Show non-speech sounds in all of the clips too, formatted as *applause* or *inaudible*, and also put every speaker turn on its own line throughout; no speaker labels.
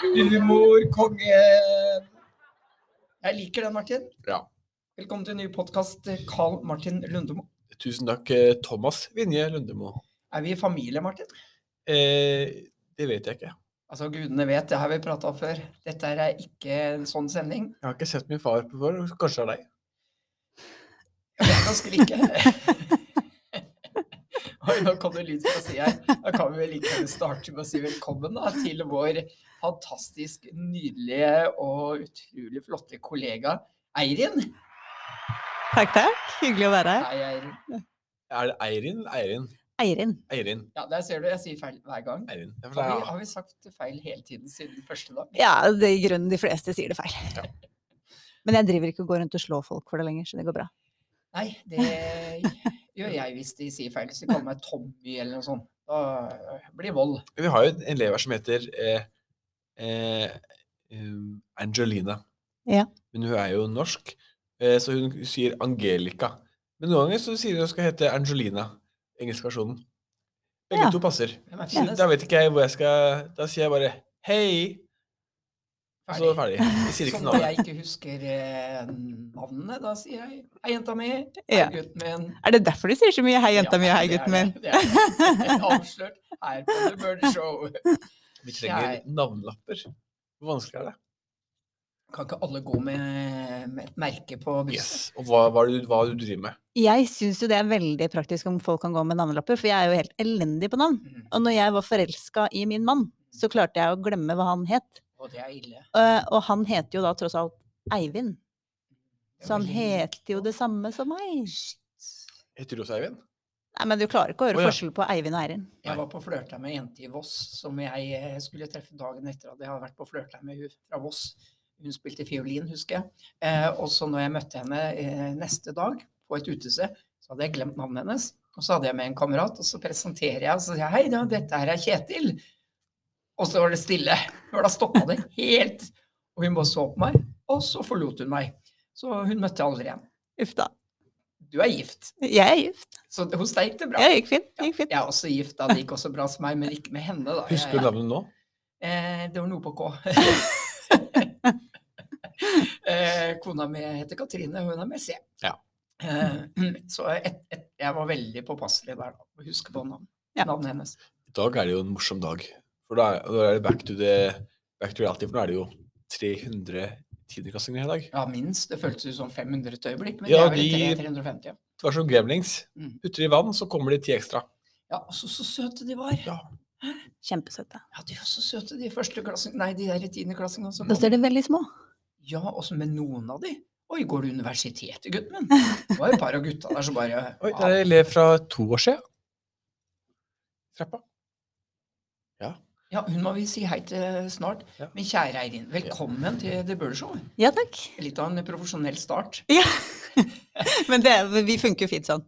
humor, kongen. Jeg liker den, Martin.
Ja.
Velkommen til en ny podkast, Carl Martin Lundemo.
Tusen takk, eh, Thomas Vinje Lundemo.
Er vi i familie, Martin?
Eh, det vet jeg ikke.
Altså, gudene vet, det har vi prata om før. Dette her er ikke en sånn sending.
Jeg har ikke sett min far på før, så kanskje det er deg.
Jeg kan skrike. *laughs* Oi, nå kom det lyd fra sida her. Da kan vi vel like gjerne starte med å si velkommen da, til vår fantastisk nydelige og utrolig flotte kollega Eirin.
Takk, takk. Hyggelig å være her.
Hei, Eirin.
Er det Eirin? Eirin?
Eirin.
Eirin?
Ja, der ser du, jeg sier feil hver gang.
Eirin. Ja, for det
Har vi,
er,
har vi sagt feil hele tiden siden første dag?
Ja, det er i grunnen de fleste sier det feil.
Ja.
Men jeg driver ikke og går rundt og slår folk for det lenger, så det går bra.
Nei, det gjør jeg hvis de sier feil. Hvis de kaller meg Tommy eller noe sånt. Da blir det vold.
vi har jo en elev her som heter eh, eh, um, Angelina.
Ja.
Men hun er jo norsk, eh, så hun sier Angelica. Men noen ganger så sier hun hun skal hete Angelina. Engelsk versjonen. Begge
Ja.
to passer.
Hvem er
Så
finest?
da vet ikke jeg hvor jeg skal Da sier jeg bare hei, og så
Ferdig.
ferdig. Jeg sier ikke
Sånn
noe
at
annet.
jeg ikke husker eh, navnene, da sier jeg 'hei, jenta mi', 'hei,
Ja.
gutten min'.
Er det derfor de sier så mye 'hei,
Ja,
jenta mi', 'hei,
det er
gutten min'?
det, det er det. Avslørt her på The Bird Show.
Vi trenger
Jeg-
navnelapper. Hvor vanskelig er det?
Kan ikke alle gå med, med et merke på
Yes.
brystet?
Og hva, hva, er det du, hva er det du driver med?
Jeg syns jo det er veldig praktisk om folk kan gå med navnelapper, for jeg er jo helt elendig på navn.
Mm,
Og når jeg var forelska i min mann, så klarte jeg å glemme hva han het.
og det er ille.
Eh, Og han heter jo da tross alt Eivind,
Det
så
var
han
ille.
heter jo det samme som meg.
Heter du også Eivind?
Nei, men du klarer ikke
Å,
å høre
ja.
forskjell på Eivind og Eirin.
Jeg var på flørta med ei jente i Voss som jeg eh, skulle treffe dagen etter at jeg hadde vært på flørta med hun fra Voss. Hun spilte fiolin, husker jeg. Eh, og så når jeg møtte henne eh, neste dag på et utested, så hadde jeg glemt navnet hennes. Og så hadde jeg med en kamerat, og så presenterer jeg og så sier jeg, hei, da, dette her er Kjetil. Og så var det stille. For da stoppa det helt. Og hun bare så på meg, og så forlot hun meg. Så hun møtte jeg aldri igjen.
Uff da.
Du er gift,
Jeg er gift.
så hos deg gikk det bra.
Ja, det gikk fint. Det gikk fint.
Jeg er også gift, da. Det gikk også bra som meg, men ikke med henne, da.
Husker du
Jeg-
navnet nå?
Eh, det var noe på K.
*laughs*
eh, kona mi heter Katrine, hun er med C.
Ja.
Eh, *clears throat* så et, et, jeg var veldig påpasselig der, da. å Huske på navn,
Ja.
navnet hennes.
I dag er det jo en morsom dag. For da er, da er det back to, the, back to reality, for nå er det jo 300 tiendeklassinger i dag.
Ja, minst. Det føltes ut som 500 et øyeblikk, men
Ja,
det er vel
de-
3 350. ja.
Det var som gremlings.
Mm.
Putter i vann, så kommer det ti ekstra.
Ja, og så, så søte de var.
Ja.
Kjempesøte.
Ja, de var så søte, de førsteklassingene. Nei, de der tiendeklassingene. som
Da
kom.
ser de veldig små.
Ja, også med noen av de. Oi, går du universitetet, gutten
*laughs*
min? Det var jo et par av gutta der som bare "Ah,
Oi, der er det elev fra to år siden. Trappa.
Ja, hun må vi si hei til snart.
Ja.
Men kjære Eirin, velkommen til The Bird Show.
Ja takk.
Litt av en profesjonell start.
Ja. *laughs* Men det, vi funker jo fint sånn.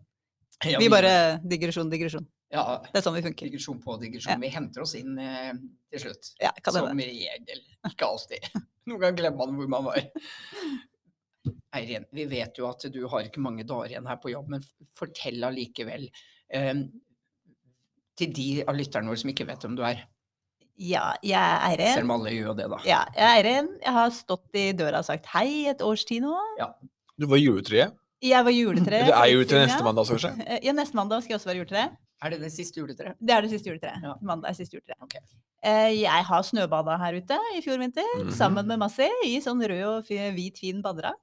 Ja,
Vi bare digresjon, digresjon.
Ja,
Det er sånn vi funker.
digresjon på digresjon. Vi henter oss inn eh, til slutt.
Ja, kan
Sånn
Som
hende.
regel. Ikke alltid. *laughs* Noen ganger glemmer man hvor man var. Eirin, vi vet jo at du har ikke mange dager igjen her på jobb, men fortell allikevel. Eh, til de av lytterne våre som ikke vet hvem du er.
Ja, jeg er
Selv
Eirin.
om alle gjør jo det, da.
Ja, jeg er Eirin. Jeg har stått i døra og sagt hei et års tid nå.
Du var i juletreet.
Jeg var juletre.
Eller er
for litt
juletreet
siden,
neste
ja.
mandag, kanskje?
Eh, Ja, neste mandag skal jeg også være juletre.
Er det det siste juletreet?
Det er det siste juletreet.
Ja.
Mandag er siste juletre.
Ok.
Eh, Jeg har snøbada her ute i fjor vinter
Mhm.
sammen med Massi i sånn rød og fi- hvit, fin badedrakt.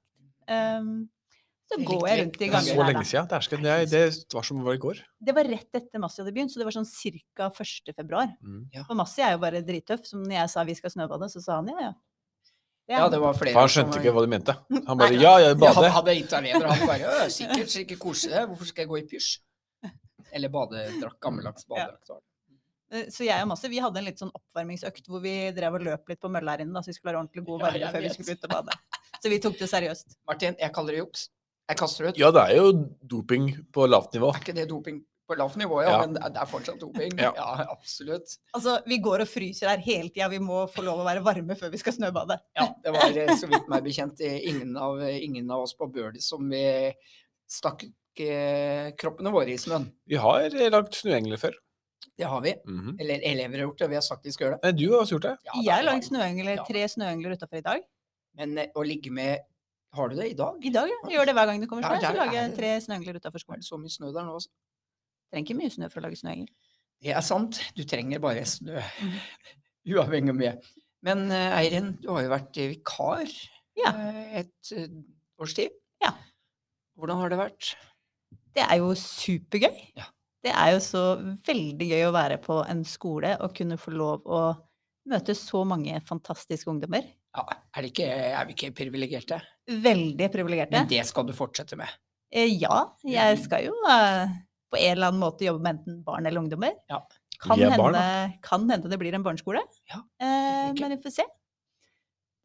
Um, så
Det
går
likte
jeg
vi.
rundt
Det
i
Det er
gangen
så
her, da.
lenge siden. Det, er, ikke- det, er, det var som det var i går.
Det var rett etter Massi hadde begynt, så det var sånn ca. 1. februar.
Mm.
For Massi er jo bare drittøff. Som når jeg sa vi skal snøbade, så sa han ja, ja. Det er
Ja,
han.
det var flere
For han
som
skjønte
var-
ikke hva du mente. Han bare
Nei.
ja, jeg
Ja,
bader.
han hadde italiener, han bare «Ø, sikkert, sikkert koselig, det. hvorfor skal jeg gå i pysj? Eller badedrakt, gammeldags badedrakt. var det.
Eh, Så jeg og Massi vi hadde en litt sånn oppvarmingsøkt hvor vi drev og løp litt på mølla her inne, da, så vi skulle være ordentlig gode
Ja,
varme
jeg
før vi
vet.
skulle ut og bade. Så vi tok det seriøst.
Martin, jeg kaller det juks. Jeg kaster det ut.
Ja, det er jo doping på lavt nivå.
Er ikke det doping på lavt nivå, ja,
Ja.
men det er fortsatt doping. Ja,
Ja.
absolutt.
Altså, vi går og fryser her hele tida, vi må få lov å være varme før vi skal snøbade.
Ja, *laughs* det var eh, så vidt meg bekjent eh, ingen av, ingen av oss på Bøhler som eh, stakk eh, kroppene våre i snøen.
Vi har eh, lagd snøengler før.
Det har vi.
Mhm.
Eller elever har gjort det, og vi har sagt de skal gjøre det.
Nei, du har også gjort det.
Ja, da,
Jeg har lagd
ja.
snøengler,
Ja.
tre snøengler utafor i dag.
Men eh, å ligge med Har du det i dag?
I dag, ja. Jeg gjør det hver gang det kommer
Ja,
snø. Så
der
lager
er
jeg
det.
tre snøengler utafor
Er
skolen.
det så mye snø der nå? altså?
Trenger ikke mye snø for å lage snøengel.
Det er sant. Du trenger bare snø. Uavhengig av mye. Men eh, Eirin, du har jo vært eh, vikar
Ja.
eh, et eh, års tid.
Ja.
Hvordan har det vært?
Det er jo supergøy.
Ja.
Det er jo så veldig gøy å være på en skole og kunne få lov å møte så mange fantastiske ungdommer.
Ja, er, det ikke, er vi ikke privilegerte?
Veldig
Men
privilegerte.
det skal du fortsette med.
Eh, Ja, jeg
Mhm.
skal jo eh, på en eller annen måte jobbe med enten barn eller ungdommer.
Ja.
Kan,
Vi er
hende,
barn,
kan hende det blir en barneskole,
Ja,
eh,
ikke.
men vi får se.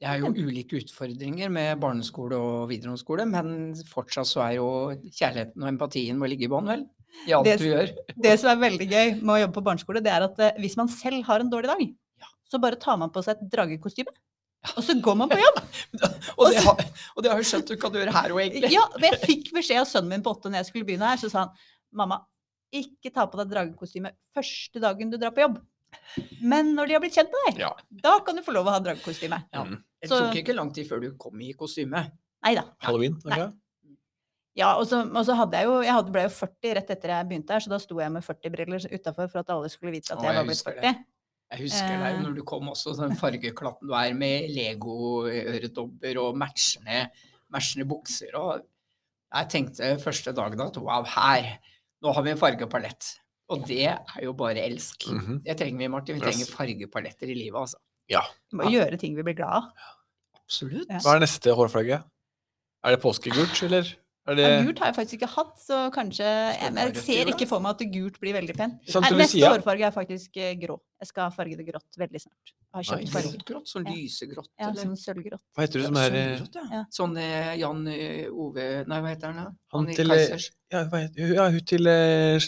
Det er jo ulike utfordringer med barneskole og videregående skole, men fortsatt så er jo kjærligheten og empatien må ligge i bånn, vel? I alt
Det-
du gjør.
Det som er veldig gøy med å jobbe på barneskole, det er at eh, hvis man selv har en dårlig dag,
Ja.
så bare tar man på seg et dragekostyme, og så
*laughs*
går man på jobb.
Og det,
så-
har, og det har jo skjønt du kan gjøre her òg, egentlig.
*laughs* Ja, og jeg fikk beskjed av sønnen min på åtte når jeg skulle begynne her, så sa han mamma, ikke ta på deg dragekostyme første dagen du drar på jobb. Men når de har blitt kjent med deg,
Ja.
da kan du få lov å ha dragekostyme.
Ja.
Mhm.
Det
så-
tok ikke lang tid før du kom i kostyme.
Nei da.
Halloween. var det ikke det?
Ja, og så, og så hadde jeg jo Jeg hadde, ble jo 40 rett etter jeg begynte her, så da sto jeg med 40-briller utafor for at alle skulle vite
Å,
at jeg
jeg
var blitt
husker det.
40.
Jeg husker deg
Eh.
når du kom også, den fargeklatten du er med Lego-øredobber og matchende, matchende bukser. Og jeg tenkte første dagen at wow, her, nå har vi en fargepalett. Og det er jo bare elsk.
Mhm.
Det trenger vi, Martin. Vi
Yes.
trenger fargepaletter i livet, altså.
Vi må gjøre ting vi blir glad av.
Absolutt.
Ja.
Hva er neste hårfarge? Er det påskegult, eller? Er det
Ja, gult har jeg faktisk ikke hatt, så kanskje
Eh. Skal
jeg,
du
men
farge
jeg ser
til, da?
ikke for meg at gult blir veldig pent.
Sankt
Nei, neste
Lucia?
hårfarge er faktisk eh, grå. Jeg skal farge det grått veldig snart. Jeg har kjøpt
Nice.
farge.
Grått, sånn
Ja.
lysegrått.
Ja,
eller?
sånn sølvgrått.
Hva heter du
Ja,
som er eh,
sølvgrått, ja.
ja.
Sånn eh, Jan eh, Ove Nei, hva heter han? da?
Han
i
til, eh,
Kaizers.
Ja, hva heter hun? Ja, hun til eh,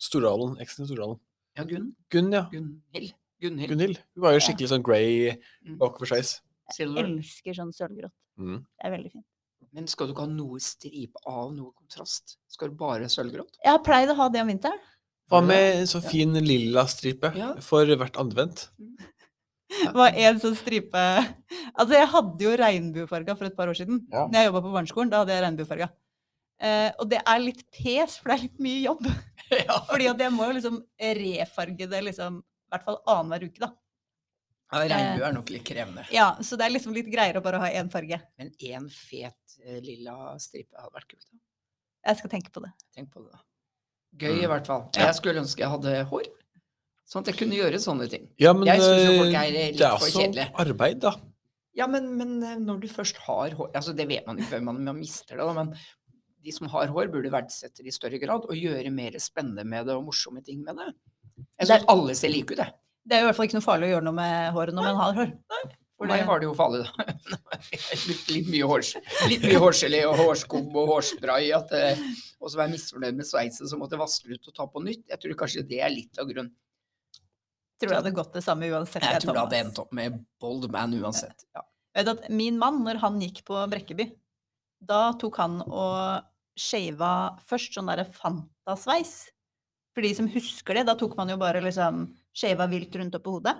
Stordalen. Eksen til Stordalen.
Ja, Gunn.
Gunn, ja.
Gunhild. Gunhild.
Gunhild. Hun var jo
Ja.
skikkelig sånn grey
Mm.
bakoversveis.
Silver.
Elsker sånn sølvgrått.
Mm.
Det er veldig fint.
Men skal du ikke ha noe stripe av noe kontrast? Skal du bare sølvgrått?
Jeg har pleid å ha det om vinteren.
Ja.
Hva med en sånn
Ja.
fin lilla stripe
Ja.
for hvert advent?
Det var en sånn stripe *laughs* Altså, jeg hadde jo regnbuefarga for et par år siden.
Ja.
Når jeg jobba på barneskolen, da hadde jeg regnbuefarga. Eh, og det er litt pes, for det er litt mye
*laughs*
jobb. *laughs*
ja.
Fordi at jeg må jo liksom refarge det liksom i hvert fall annenhver uke, da.
Regnbue er nok litt krevende.
Ja, Så det er liksom litt greiere å bare ha én farge.
Men én fet eh, lilla stripe hadde vært kult. da.
Jeg skal tenke på det.
Tenk på det. da. Gøy i
Mm.
hvert fall.
Ja.
Jeg skulle ønske jeg hadde hår, sånn at jeg kunne gjøre sånne ting.
Ja, men
Jeg synes jo
eh,
folk er litt
det er
for
også
kjedelige.
arbeid, da.
Ja, men, men eh, når du først har hår altså Det vet man jo før man, man mister det, da, men de som har hår, burde verdsette det i større grad og gjøre mer spennende med det og morsomme ting med det. Jeg
Det er-
syns alle ser like ut, jeg.
Det er jo i hvert fall ikke noe farlig å gjøre noe med håret når man har hår.
For
For
meg
det-
var det jo farlig, da. *laughs* Jeg brukte litt mye, hårs, litt mye hårgelé og hårskum og hårspray. At, eh, og så var jeg misfornøyd med sveisen, så måtte jeg vaske det ut og ta på nytt. Jeg tror kanskje det er litt av grunnen.
Tror det hadde gått det samme uansett.
Jeg tror det hadde
Thomas.
endt opp med bold man uansett. Ja.
Jeg vet at min mann, når han gikk på Brekkeby, da tok han og shava først sånn derre Fanta-sveis. For de som husker det, da tok man jo bare liksom shava vilt rundt oppå hodet.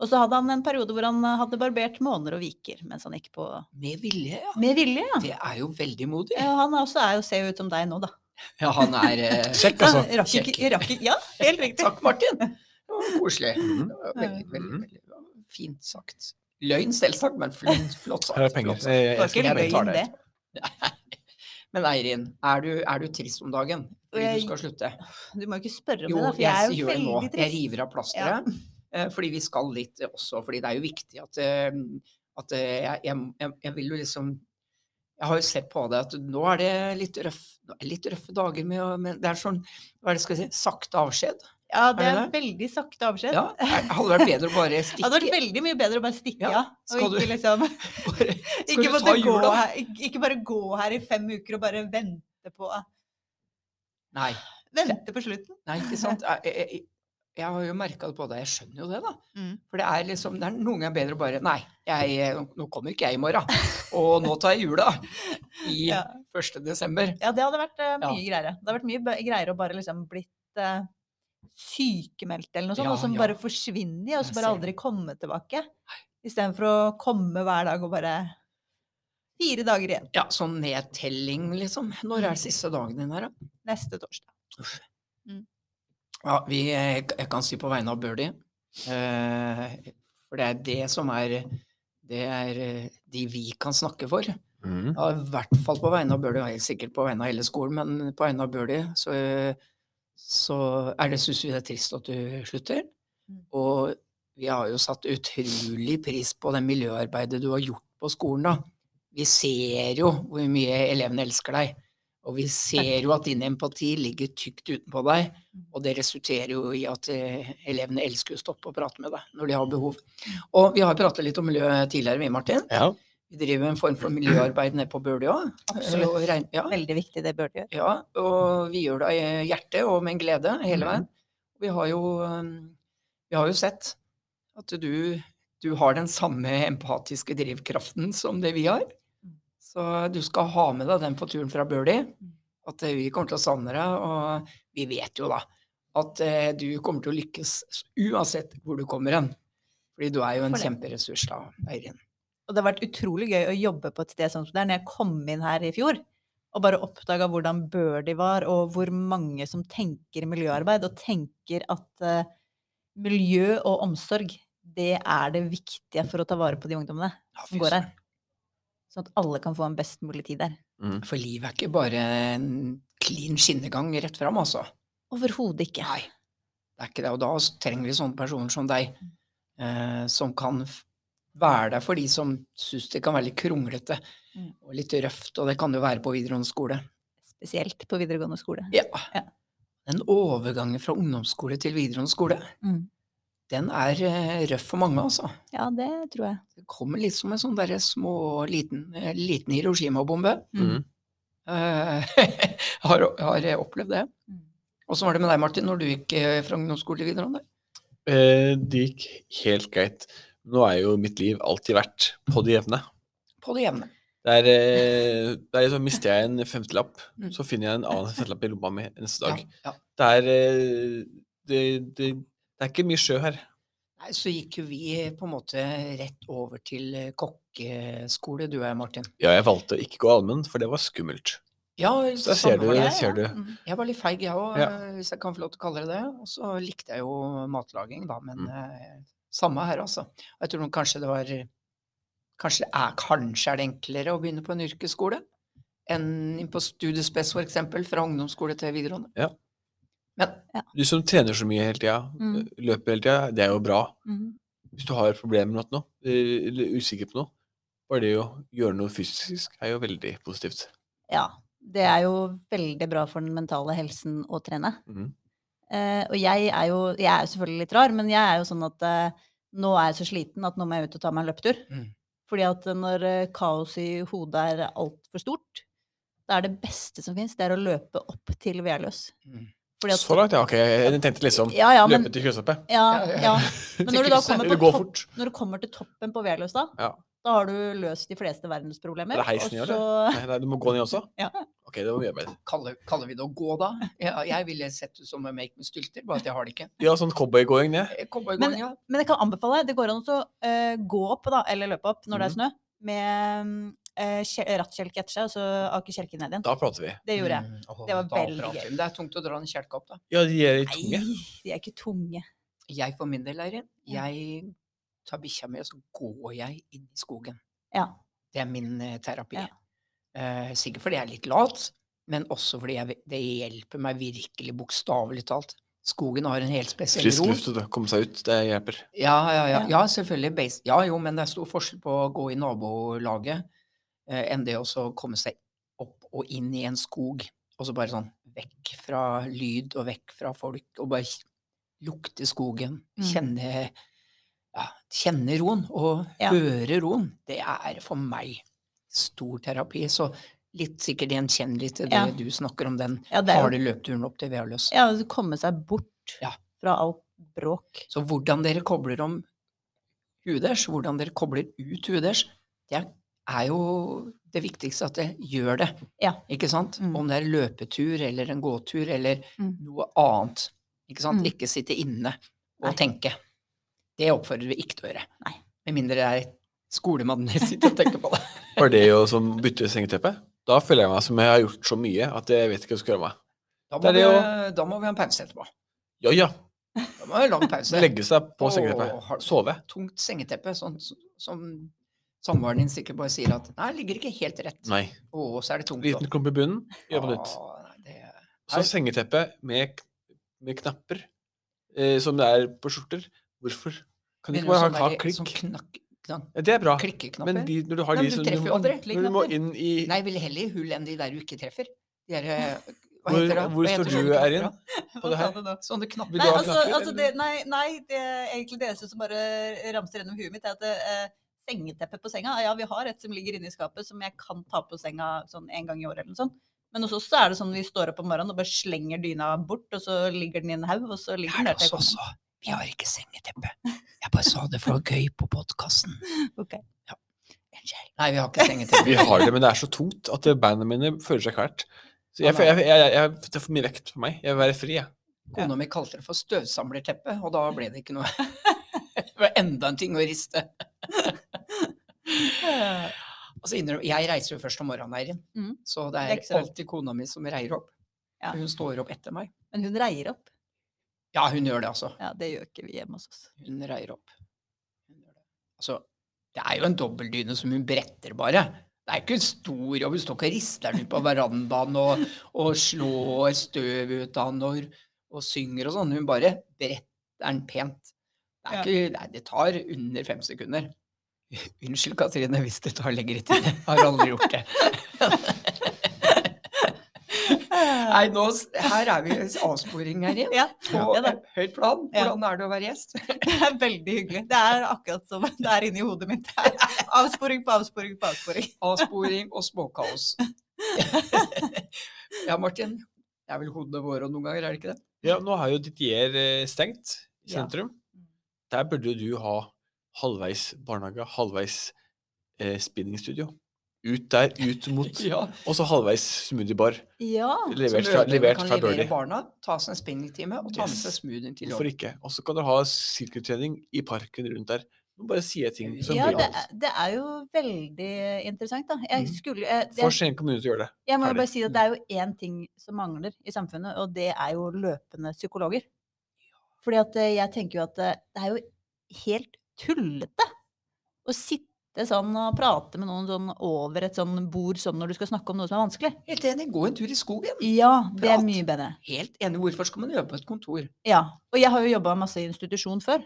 Og så hadde han en periode hvor han hadde barbert måner og viker mens han gikk på
Med vilje, ja.
Med vilje, ja.
Det er jo veldig modig.
Ja, Han er også er jo, ser jo ut som deg nå, da.
Ja, han er
*laughs*
eh,
Sjekk,
Så
altså.
han rakk ikke, rakk ikke Ja, helt riktig.
Takk, Martin. Det var koselig.
Mhm.
Det var veldig, veldig,
Mhm.
veldig det var fint sagt. Løgn, selvsagt, men flott, flott sagt.
Her er penger.
Flott
Eh,
sagt.
jeg
Det var ikke
jeg
løgn,
betaler.
det.
Men Eirin, er du, er du trist om dagen? Fordi
Jeg-
du skal slutte?
Du må jo ikke spørre om
Jo,
det, da, for
jeg,
jeg er jo
gjør det nå.
veldig
Jeg
trist.
river av plasteret. eh, Fordi vi skal litt eh, også, fordi det er jo viktig at, eh, at eh, jeg, jeg, jeg- jeg vil jo liksom Jeg har jo sett på deg at nå er det litt, røff, nå er det litt røffe dager med å men Det er sånn, hva er det skal jeg si, sakte avskjed.
Ja, det
Er
er
det
veldig sakte avskjed.
Ja, det hadde vært bedre å bare
*laughs* Ja, det hadde
stikke.
vært veldig mye bedre å bare
Ja,
stikke av. og
skal
ikke,
du-
liksom,
Bare, skal
ikke,
du
måtte
ta
gå
jula?
her, ikke- ikke bare gå her i fem uker og bare vente på,
Nei.
vente på slutten.
Nei, ikke sant. Jeg, jeg, jeg- jeg har jo merka det på deg, jeg skjønner jo det, da.
Mm.
For det er liksom, det er noen ganger bedre å bare Nei, jeg, eh, nå kommer ikke jeg i morgen. Og nå tar jeg jula i
*laughs* Ja.
1. desember.
ja, det hadde vært eh,
Ja.
mye greiere. Det hadde vært mye be- greiere å bare liksom blitt eh, sykemeldt eller noe sånt,
Ja,
og som
ja.
bare forsvinner, de, og
Jeg
så bare
ser
aldri komme tilbake. Istedenfor å komme hver dag og bare Fire dager igjen
Ja, sånn nedtelling, liksom. Når
Mm.
er siste dagen din her, da?
neste torsdag.
Ja, vi, eh, jeg, jeg kan si på vegne av Birdie. eh, for det er det som er Det er eh, de vi kan snakke for.
Mm.
Ja, I hvert fall på vegne av Bøhler, og helt sikkert på vegne av hele skolen, men på vegne av Bøhler så, så er det, syns vi det er trist at du slutter.
Mm.
Og vi har jo satt utrolig pris på det miljøarbeidet du har gjort på skolen, da. Vi ser jo hvor mye elevene elsker deg, og vi ser jo at din empati ligger tykt utenpå deg, og det resulterer jo i at eh, elevene elsker å stoppe og prate med deg når de har behov. Og vi har pratet litt om miljø tidligere, vi, Martin.
Ja.
Vi driver en form for miljøarbeid nede på Bøler òg.
Absolutt.
Og regn- Ja,
Veldig viktig det Bjørn gjør.
ja, og vi gjør det av hjertet og med en glede hele
Mhm.
veien. Vi har jo, um, vi har jo sett at du, du har den samme empatiske drivkraften som det vi har.
Mm.
Så du skal ha med deg den på turen fra Bøli. At eh, vi kommer til å savne deg, og vi vet jo da at eh, du kommer til å lykkes uansett hvor du kommer hen. Fordi du er jo en
For det.
kjemperessurs da, Eirin.
Og det har vært utrolig gøy å jobbe på et sted sånn som det er. Når jeg kom inn her i fjor og bare oppdaga hvordan bør de var, og hvor mange som tenker miljøarbeid, og tenker at eh, miljø og omsorg, det er det viktige for å ta vare på de ungdommene
Ja, fy
som går
søren.
her. Sånn at alle kan få en best mulig tid der.
Mm.
For livet er ikke bare en clean skinnegang rett fram, altså.
Overhodet ikke.
Nei. Det er ikke det. Og da trenger vi sånne personer som deg, eh, som kan f- være der for de som syns det kan være litt kronglete
Mm.
og litt røft, og det kan det jo være på videregående skole.
Spesielt på videregående skole.
Ja.
Ja.
Den overgangen fra ungdomsskole til videregående skole,
Mm.
den er eh, røff for mange, altså.
Ja, det tror jeg.
Det kommer litt som en sånn derre små, liten, eh, liten Hiroshima-bombe.
Mm.
Eh, *laughs* har, har jeg opplevd det.
Mm.
Åssen var det med deg, Martin, når du gikk eh, fra ungdomsskole til videregående?
Eh, det gikk helt greit. Nå er jo mitt liv alltid vært på det jevne.
På det jevne.
Der, eh, der liksom mister jeg en femtelapp,
Mm.
så finner jeg en annen femtelapp i lomma mi neste dag.
Ja, ja.
Det er eh, det, det, det er ikke mye sjø her.
Nei, så gikk jo vi på en måte rett over til eh, kokkeskole, du og jeg, Martin.
Ja, jeg valgte å ikke gå allmenn, for det var skummelt.
Ja,
Så
samme
der ser du,
var
der
det.
ser du.
Mm.
Jeg var litt feig, jeg òg,
Ja.
hvis jeg kan få lov til å kalle det det. Og så likte jeg jo matlaging, da, men
Mm.
eh, samme her, altså. Og Jeg tror nok kanskje det var Kanskje det er, kanskje er det enklere å begynne på en yrkesskole enn på studiespes, for eksempel, fra ungdomsskole til videregående.
Ja.
Men
Du som trener så mye hele tida,
Mm.
løper hele tida, det er jo bra.
Mm.
Hvis du har problemer med noe, eh, eller usikker på noe, bare det å gjøre noe fysisk er jo veldig positivt.
Ja. Det er jo veldig bra for den mentale helsen å trene.
Mm.
Eh, og jeg er jo jeg er jo selvfølgelig litt rar, men jeg er jo sånn at eh, nå er jeg så sliten at nå må jeg ut og ta meg en løpetur.
Mm.
Fordi at når eh, kaoset i hodet er altfor stort, da er det beste som fins, det er å løpe opp til Vealøs.
mm.
Fordi at-
Så langt, ja. Ok, jeg tenkte liksom
Ja, ja, men,
løpe til kryssoppet.
Ja,
ja,
ja.
*laughs*
ja. men når du da
Til
kommer,
Eller
på
gå sånn?
topp,
fort.
når du kommer til toppen på Vealøs, da,
Ja.
da har du løst de fleste verdensproblemer.
Er det heisen i år,
og så,
Nei, nei, du må gå ned også?
*laughs* Ja.
Ok, det var mye arbeid.
kaller, kaller vi det å gå, da? Ja, jeg ville sett ut som en make me stylter, bare at jeg har det ikke.
Ja, sånn cowboygåing ned.
Eh, Cowboygåing, ja.
men jeg kan anbefale, det går an å eh, gå opp, da, eller løpe opp når det
Mhm.
er snø, med uh, rattkjelke etter seg, og så ake kjelken ned igjen.
Da prater vi.
Det gjorde jeg.
Mm, åh,
Det var
da
veldig
prater
gøy.
vi. Det er tungt å dra den kjelka opp, da.
Ja, de er i tunge.
Nei, de er ikke tunge.
Jeg for min del, Eirin,
Ja.
jeg tar bikkja mi, og så går jeg inn i skogen.
Ja.
Det er min eh, terapi.
Ja.
Eh, sikkert fordi jeg er litt lat, men også fordi jeg, det hjelper meg virkelig, bokstavelig talt. Skogen har en helt spesiell
Frisk
ro.
luft, vet du. Komme seg ut. Det hjelper.
Ja, ja, ja.
Ja.
ja selvfølgelig. Base. Ja, jo, men det er stor forskjell på å gå i nabolaget eh, enn det å så komme seg opp og inn i en skog. Og så bare sånn vekk fra lyd og vekk fra folk, og bare kj- lukte skogen.
Mm.
Kjenne, ja, kjenne roen og
Ja.
høre roen. Det er for meg stor terapi. Så litt sikkert gjenkjennelig til det
Ja.
du snakker om, den
Ja, det er
harde
jo
løpturen opp til Vealøs.
ja, å komme seg bort
Ja.
fra alt bråk.
Så hvordan dere kobler om huet deres, hvordan dere kobler ut huet deres, det er jo det viktigste at det gjør det.
Ja.
Ikke sant?
Mm.
Om det er løpetur eller en gåtur eller
Mm.
noe annet. Ikke sant?
Mm.
Ikke sitte inne og
Nei.
tenke. Det oppfordrer vi ikke til å gjøre.
Nei.
Med mindre det er skolemannen jeg sitter og tenker på
*laughs*
det.
Var det jo som bytte sengeteppe? Da føler jeg meg som jeg har gjort så mye at jeg vet ikke hva jeg skal gjøre meg.
Da
Det
må,
er det
vi, da må vi ha en pause etterpå.
Ja ja,
Da må vi ha en lang pause.
legge seg på
Åh, har
sengeteppet.
du-
Sove.
Tungt sengeteppe, sånn s- som samboeren din sikkert bare sier at Nei, ligger ikke helt rett.
Nei.
Å, så er det tungt.
Liten klump i bunnen, gjør man ut.
Å, nei, det-
Så sengeteppe med, med knapper, eh, som det er på skjorter. Hvorfor? Kan de
Begynner
ikke bare
sånn
ha, ha
der-
klikk?
Sånn knak, knak,
Ja, det er bra.
klikkeknapper.
Men de, når du har
Nei,
de
men du
som
treffer jo aldri
når du må
knapper.
inn i
Nei, vel heller i hull enn de der du ikke treffer. De der, eh, hva
Hvor-
heter det?
hvor
Hva heter
står
sånne
du,
knapper *laughs*
Erin?
da?
på det her.
Sånne knapper.
Vil
Nei,
du ha
altså,
knapper,
altså det,
eller?
nei, nei, det er egentlig det eneste som bare ramser gjennom huet mitt, er at eh, sengeteppet på senga Ja, vi har et som ligger inne i skapet som jeg kan ta på senga sånn en gang i året eller noe sånt. Men hos oss så er det sånn vi står opp om morgenen og bare slenger dyna bort, og så ligger den i en haug, og så
Det
ligger
er
den
det
der til
oss
jeg
også. Vi har ikke
*laughs*
sengeteppe. Jeg bare sa det for å gøy på podkasten.
kommer. Ok.
Unnskyld. Nei, vi har ikke sengeteppe.
Vi har det, men det er så tungt at det- beina mine føler seg kvalt. Så jeg,
Ja,
jeg, jeg, jeg, jeg, det er for mye vekt på meg. Jeg vil være fri, jeg.
Kona mi kalte det for støvsamlerteppe, og da ble det ikke
*laughs*
noe. Det var enda en ting å riste.
Eh,
Altså, innrøm, jeg reiser jo først om morgenen, Eirin.
Mm.
Så det
Det er
er
ikke så rart.
alltid kona mi som reier opp.
Ja.
Hun står opp etter meg.
Men hun reier opp.
Ja, hun gjør det, altså.
Ja, det gjør ikke vi hjemme hos oss.
Hun reier opp. Hun gjør det. Altså, det er jo en dobbeltdyne som hun bretter, bare. Det er ikke en stor jobb. Hun står ikke og rister den ut på verandaen og, og slår støv ut av den og, og synger og sånn. Hun bare bretter den pent. Det, er
Ja.
ikke, nei, det tar under fem sekunder. *laughs* Unnskyld, Katrine, hvis det tar lengre tid. Jeg har aldri gjort det.
*laughs*
Nei, nå, s- her er vi i avsporing her igjen.
Ja,
På
ja da.
høyt plan.
Ja.
Hvordan er det å være gjest?
Det er veldig hyggelig. Det er akkurat som det er inni hodet mitt. *laughs* Det er Avsporing på avsporing på avsporing.
Avsporing og
*laughs*
småkaos. ja, Martin. Det er vel hodene våre noen ganger, er det ikke det?
Ja, nå har jo Didier eh, stengt i
Mm. Ja.
sentrum. Der burde jo du ha halvveis barnehage, halvveis eh, spinningstudio. Ut der, ut mot
*laughs* Ja.
Og så halvveis smoothiebar.
Ja.
Levert fra, levert
kan
fra Birdie.
levere barna, ta seg en spinningtime og ta med seg
Yes.
smoothien til
Hvorfor
jobb.
ikke? Og så kan dere ha sirkeltrening i parken rundt der. Nå bare sier jeg ting som
Ja,
blir
det
alt.
er, det er jo veldig interessant, da. Jeg,
Mhm.
skulle, jeg,
For
jeg,
Skien kommune til å gjøre det.
jeg må jo
ferdig.
bare si at det er jo én ting som mangler i samfunnet, og det er jo løpende psykologer. Fordi at eh, jeg tenker jo at eh, det er jo helt tullete å sitte sånn og prate med noen sånn over et sånn bord sånn når du skal snakke om noe som er vanskelig.
Helt enig, gå en tur i skogen.
Ja, det
Prat.
er mye bedre.
Helt enig, hvorfor skal man jobbe på et kontor?
Ja, og jeg har jo jobba masse i institusjon før.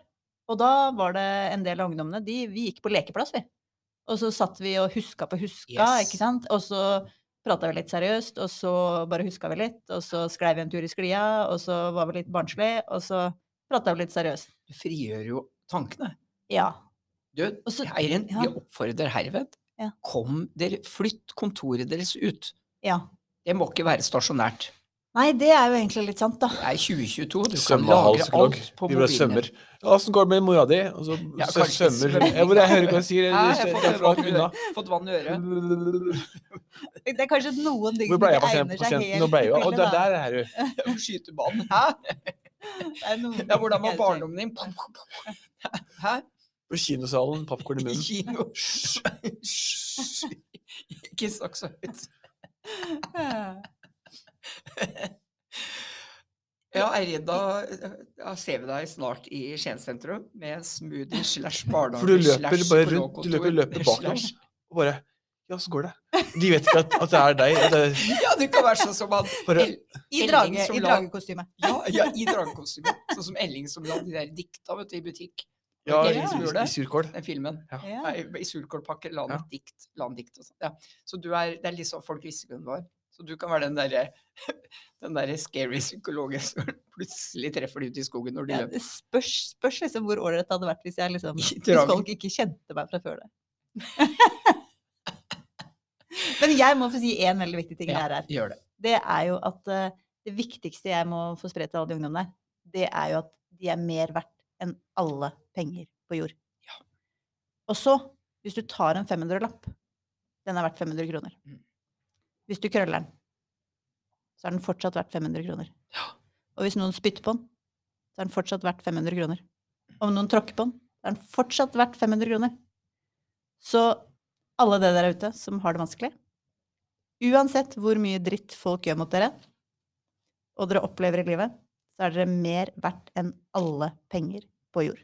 Og da var det en del av ungdommene de, Vi gikk på lekeplass, vi. Og så satt vi og huska på huska,
Yes.
ikke sant. Og så prata vi litt seriøst, og så bare huska vi litt. Og så sklei vi en tur i sklia, og så var vi litt barnslige, og så prata vi litt seriøst.
Du frigjør jo tankene.
Ja.
Du,
Og så,
Eirin,
ja.
vi oppfordrer herved.
Ja.
Kom dere, flytt kontoret deres ut.
ja.
Det må ikke være stasjonært.
Nei, det er jo egentlig litt sant, da.
Det er 2022, du kan
Svømmehall
lagre
psykolog.
alt på
De bare
mobilen.
svømmer. Ja, åssen går det med mora di? Og så
Ja,
så
kanskje
svømmer
svømming.
Jeg, hvor jeg hører hva jeg sier.
Nei,
jeg-
jeg
jeg-
får
jeg er
høre hva
langt
du
unna.
Fått vann i øret.
Det er kanskje noen ting
Hvor
som
ble jeg av
ikke
pasient-
egner seg
pasienten?
helt
Nå ble jeg jo
til *laughs*
Å, der,
det, da.
der er du.
Skytebanen. Hæ?
Det er noen
Ja, hvordan
ting som
var
ikke egner seg.
barndommen din? Hæ?
På kinosalen, popkorn i
I *laughs*
munnen.
kino? Hysj. Ikke snakk så høyt. Ja, Eirin, da da ser vi deg snart i Skien sentrum med smoothie slash barnehage.
For du løper
slash
bare rundt, du løper,
psykologkontor
løper bakover.
slash-
Og bare Ja, så går det. De vet ikke at, at det er deg. At det er
Ja, du kan være sånn som han
bare
El-
I,
Elling
drage,
som
i
la-
dragekostyme.
ja, ja, i dragekostyme. Sånn som Elling som la de der dikta vet du, i butikk.
Ja,
Ok,
i,
så gjør
i,
det.
i surkål.
Den filmen.
Ja.
Nei, I surkålpakke la han
Ja.
et dikt. La han dikt og sånn. Ja. Så du er, det er litt sånn folk visste hvem du var. Så du kan være den derre *laughs* den der scary psykologen som *laughs* plutselig treffer de ute i skogen når de
Ja,
løper.
det spørs, spørs liksom hvor ålreit det hadde vært hvis, jeg
*laughs*
liksom,
I
hvis
dragen.
folk ikke kjente meg fra før det. *laughs* Men jeg må få si én veldig viktig ting
Ja,
her, her.
Gjør det.
Det er jo at eh, det viktigste jeg må få spre til alle de ungdommene her, det er jo at de er mer verdt enn alle penger på jord.
Ja.
Og så, hvis du tar en 500-lapp, den er verdt 500 kroner.
Mm.
Hvis du krøller den, så er den fortsatt verdt 500 kroner.
Ja.
Og hvis noen spytter på den, så er den fortsatt verdt 500 kroner. Om noen tråkker på den, så er den fortsatt verdt 500 kroner. Så alle dere der ute som har det vanskelig, uansett hvor mye dritt folk gjør mot dere, og dere opplever i livet, så er dere mer verdt enn alle penger på jord.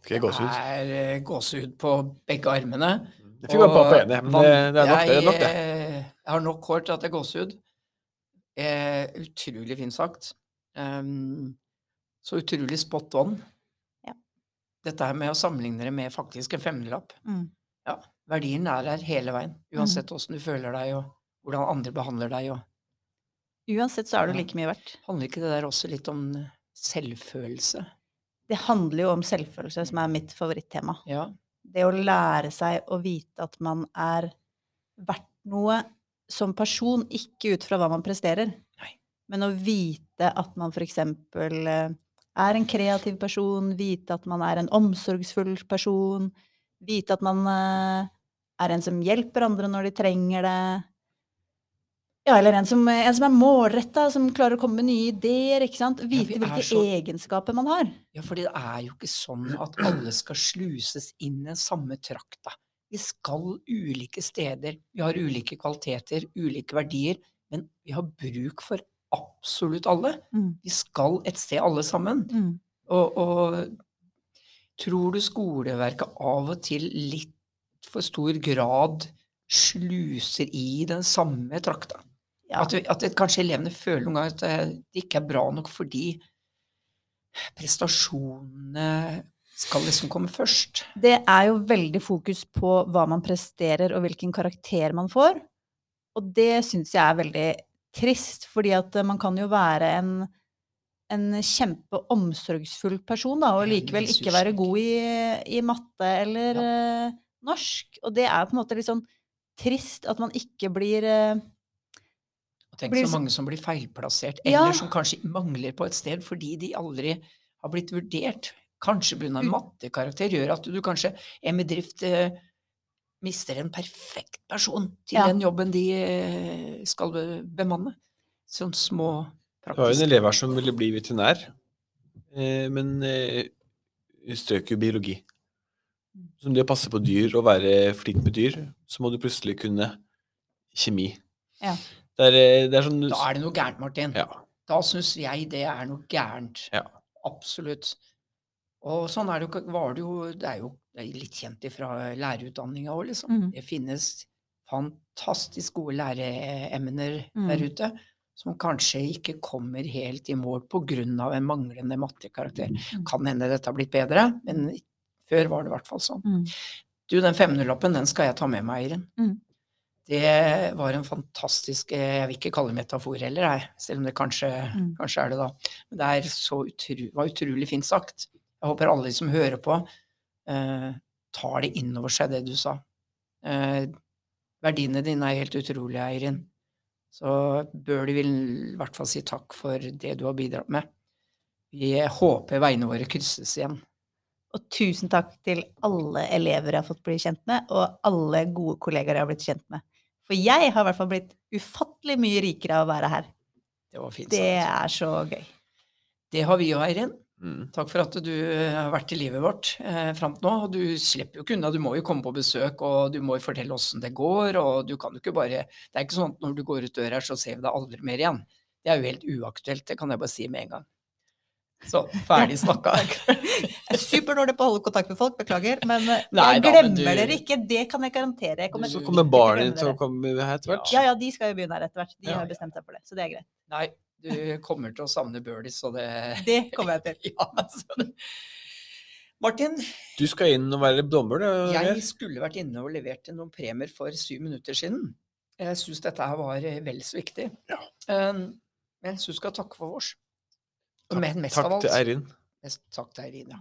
Fikk jeg gåsehud?
Det er eh, gåsehud på begge armene.
Jeg fikk bare på på
Og
ene, men det, det er nok det. det, er nok det.
Jeg, eh, har nok hår til at det er gåsehud. Eh, utrolig fint sagt. Ehm, så utrolig spot on.
Ja.
Dette her med å sammenligne det med faktisk en femmerlapp. Verdien er her hele veien, uansett åssen du føler deg og hvordan andre behandler deg. Og
Uansett så er du
Ja.
like mye verdt.
handler ikke det der også litt om selvfølelse?
Det handler jo om selvfølelse, som er mitt favorittema.
Ja.
det å lære seg å vite at man er verdt noe som person, ikke ut fra hva man presterer,
Nei.
men å vite at man f.eks. er en kreativ person, vite at man er en omsorgsfull person, vite at man eh, er en som hjelper andre når de trenger det. Ja, eller en som, en som er målretta, som klarer å komme med nye ideer. ikke sant?
vi
Vite
er
hvilke
så-
egenskaper man har.
Ja, for det er jo ikke sånn at alle skal sluses inn i den samme trakta. Vi skal ulike steder, vi har ulike kvaliteter, ulike verdier, men vi har bruk for absolutt alle.
Mm.
Vi skal et sted alle sammen.
Mm.
Og, og tror du skoleverket av og til litt for stor grad sluser i den samme trakta?
Ja.
At, vi- at det, kanskje elevene føler noen ganger at eh, det ikke er bra nok fordi prestasjonene skal liksom komme først.
Det er jo veldig fokus på hva man presterer og hvilken karakter man får. Og det syns jeg er veldig trist, fordi at eh, man kan jo være en, en kjempeomsorgsfull person da, og
Ja, en
likevel ikke
ressurssjekk.
være god i, i matte eller eh, norsk. Og det er på en måte litt sånn trist at man ikke blir eh,
Og tenk
Blir
så
så-
mange som blir feilplassert,
Ja.
eller som kanskje mangler på et sted fordi de aldri har blitt vurdert. Kanskje pga.
Mm.
mattekarakter gjør at du kanskje en bedrift eh, mister en perfekt person til
Ja.
den jobben de eh, skal be- bemanne. Sånn små
Det var jo en
praktiske
elev her som ville bli veterinær, eh, men eh, strøk jo biologi. Som det å passe på dyr og være flink med dyr, så må du plutselig kunne kjemi.
Ja.
Det er, eh, det er sånn
Da er det noe gærent, Martin.
Ja.
Da syns jeg det er noe gærent.
Ja.
Absolutt. Og sånn er det jo, ikke- var det jo Det er jo det er litt kjent ifra lærerutdanninga òg, liksom.
Mhm.
Det finnes fantastisk gode læreemner
Mhm.
der ute. Som kanskje ikke kommer helt i mål pga. en manglende mattekarakter.
Mhm.
Kan hende dette har blitt bedre, men før var det i hvert fall sånn. Du, den 500-lappen, den skal jeg ta med meg, Eirin.
Mm.
Det var en fantastisk eh, Jeg vil ikke kalle det metafor heller, jeg, selv om det kanskje,
Mm.
kanskje er det, da. Men det er så utru, var utrolig fint sagt. Jeg håper alle som hører på, eh, tar det inn over seg, det du sa. Eh, verdiene dine er helt utrolige, Eirin. Så bør du vel i hvert fall si takk for det du har bidratt med. Vi håper veiene våre krysses igjen.
Og tusen takk til alle elever jeg har fått bli kjent med, og alle gode kollegaer jeg har blitt kjent med. For jeg har i hvert fall blitt ufattelig mye rikere av å være her.
Det var fint
Det
sagt.
er så gøy.
Det har vi jo, Eirin.
Mm.
Takk for at du eh, har vært i livet vårt eh, fram til nå. Og du slipper jo ikke unna, du må jo komme på besøk, og du må jo fortelle åssen det går. Og du kan jo ikke bare Det er ikke sånn at når du går ut døra her, så ser vi deg aldri mer igjen. Det er jo helt uaktuelt, det kan jeg bare si med en gang. Så ferdig
*laughs*
snakka.
Jeg er superdårlig på å holde kontakt med folk, beklager. Men eh,
Nei
jeg
da, men
glemmer
du-
dere ikke, det kan jeg garantere. Jeg kommer
Så
du-
kommer
ikke til å
barnet
glemme
ditt som
dere.
kommer her etter hvert.
Ja, ja, de skal jo begynne her etter hvert. De
Ja,
har
ja.
bestemt seg for det, så det er greit.
Nei, du kommer til å savne Bøhlis, så det
Det kommer jeg til.
*laughs* Ja, altså. det- Martin,
Du skal inn og være dommer, du.
jeg
Geir.
skulle vært inne og levert inn noen premier for syv minutter siden. Jeg syns dette her var eh, vel så viktig. Um, men jeg syns du skal takke for vårs. Og
Takk-
men mest
Takk
av alt
til Eirin.
mest, Takk til Eirin, ja.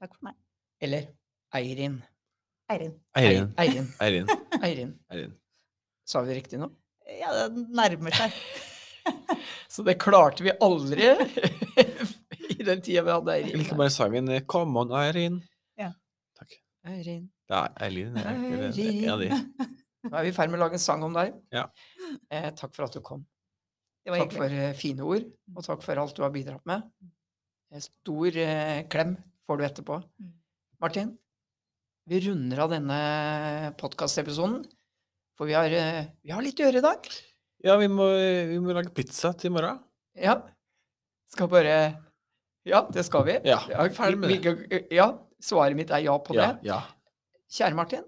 Takk for meg.
Eller Eirin.
Eirin.
Eirin.
Ei- Eirin.
Eirin.
Eirin.
Eirin.
Sa vi riktig nå?
Ja, det nærmer seg.
Så det klarte vi aldri *laughs* i den tida vi hadde
Jeg
Eirin.
liker bare sangen eh, Come on, Eirin.
Eirin.
Det er Eirin. er det ikke det? Det er en av de.
Nå er vi i ferd med å lage en sang om deg.
Ja.
Eh, takk for at du kom.
Det var
Takk
hyggelig.
for eh, fine ord, og takk for alt du har bidratt med. En Stor eh, klem får du etterpå.
Mm.
Martin, vi runder av denne podkastepisoden. For vi har, eh, vi har litt å gjøre i dag.
Ja, vi må, eh, vi må lage pizza til i morgen.
Ja. Skal bare Ja, det skal vi.
Ja, ferdig med
vi- vi- Ja, svaret mitt er ja på
Ja,
det.
ja.
Kjære Martin,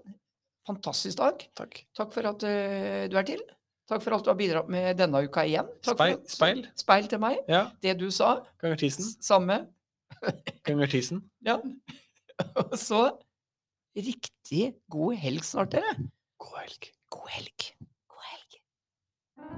fantastisk dag.
Takk.
Takk for at eh, du er til. Takk for alt du har bidratt med denne uka igjen. Takk
Speil-
for at,
speil. Mm.
Speil til meg.
Ja,
Det du sa.
ganger tisen.
s- Samme.
Ganger tisen.
Ja. *laughs* Og så riktig god helg snart, dere.
God helg.
God helg. God helg.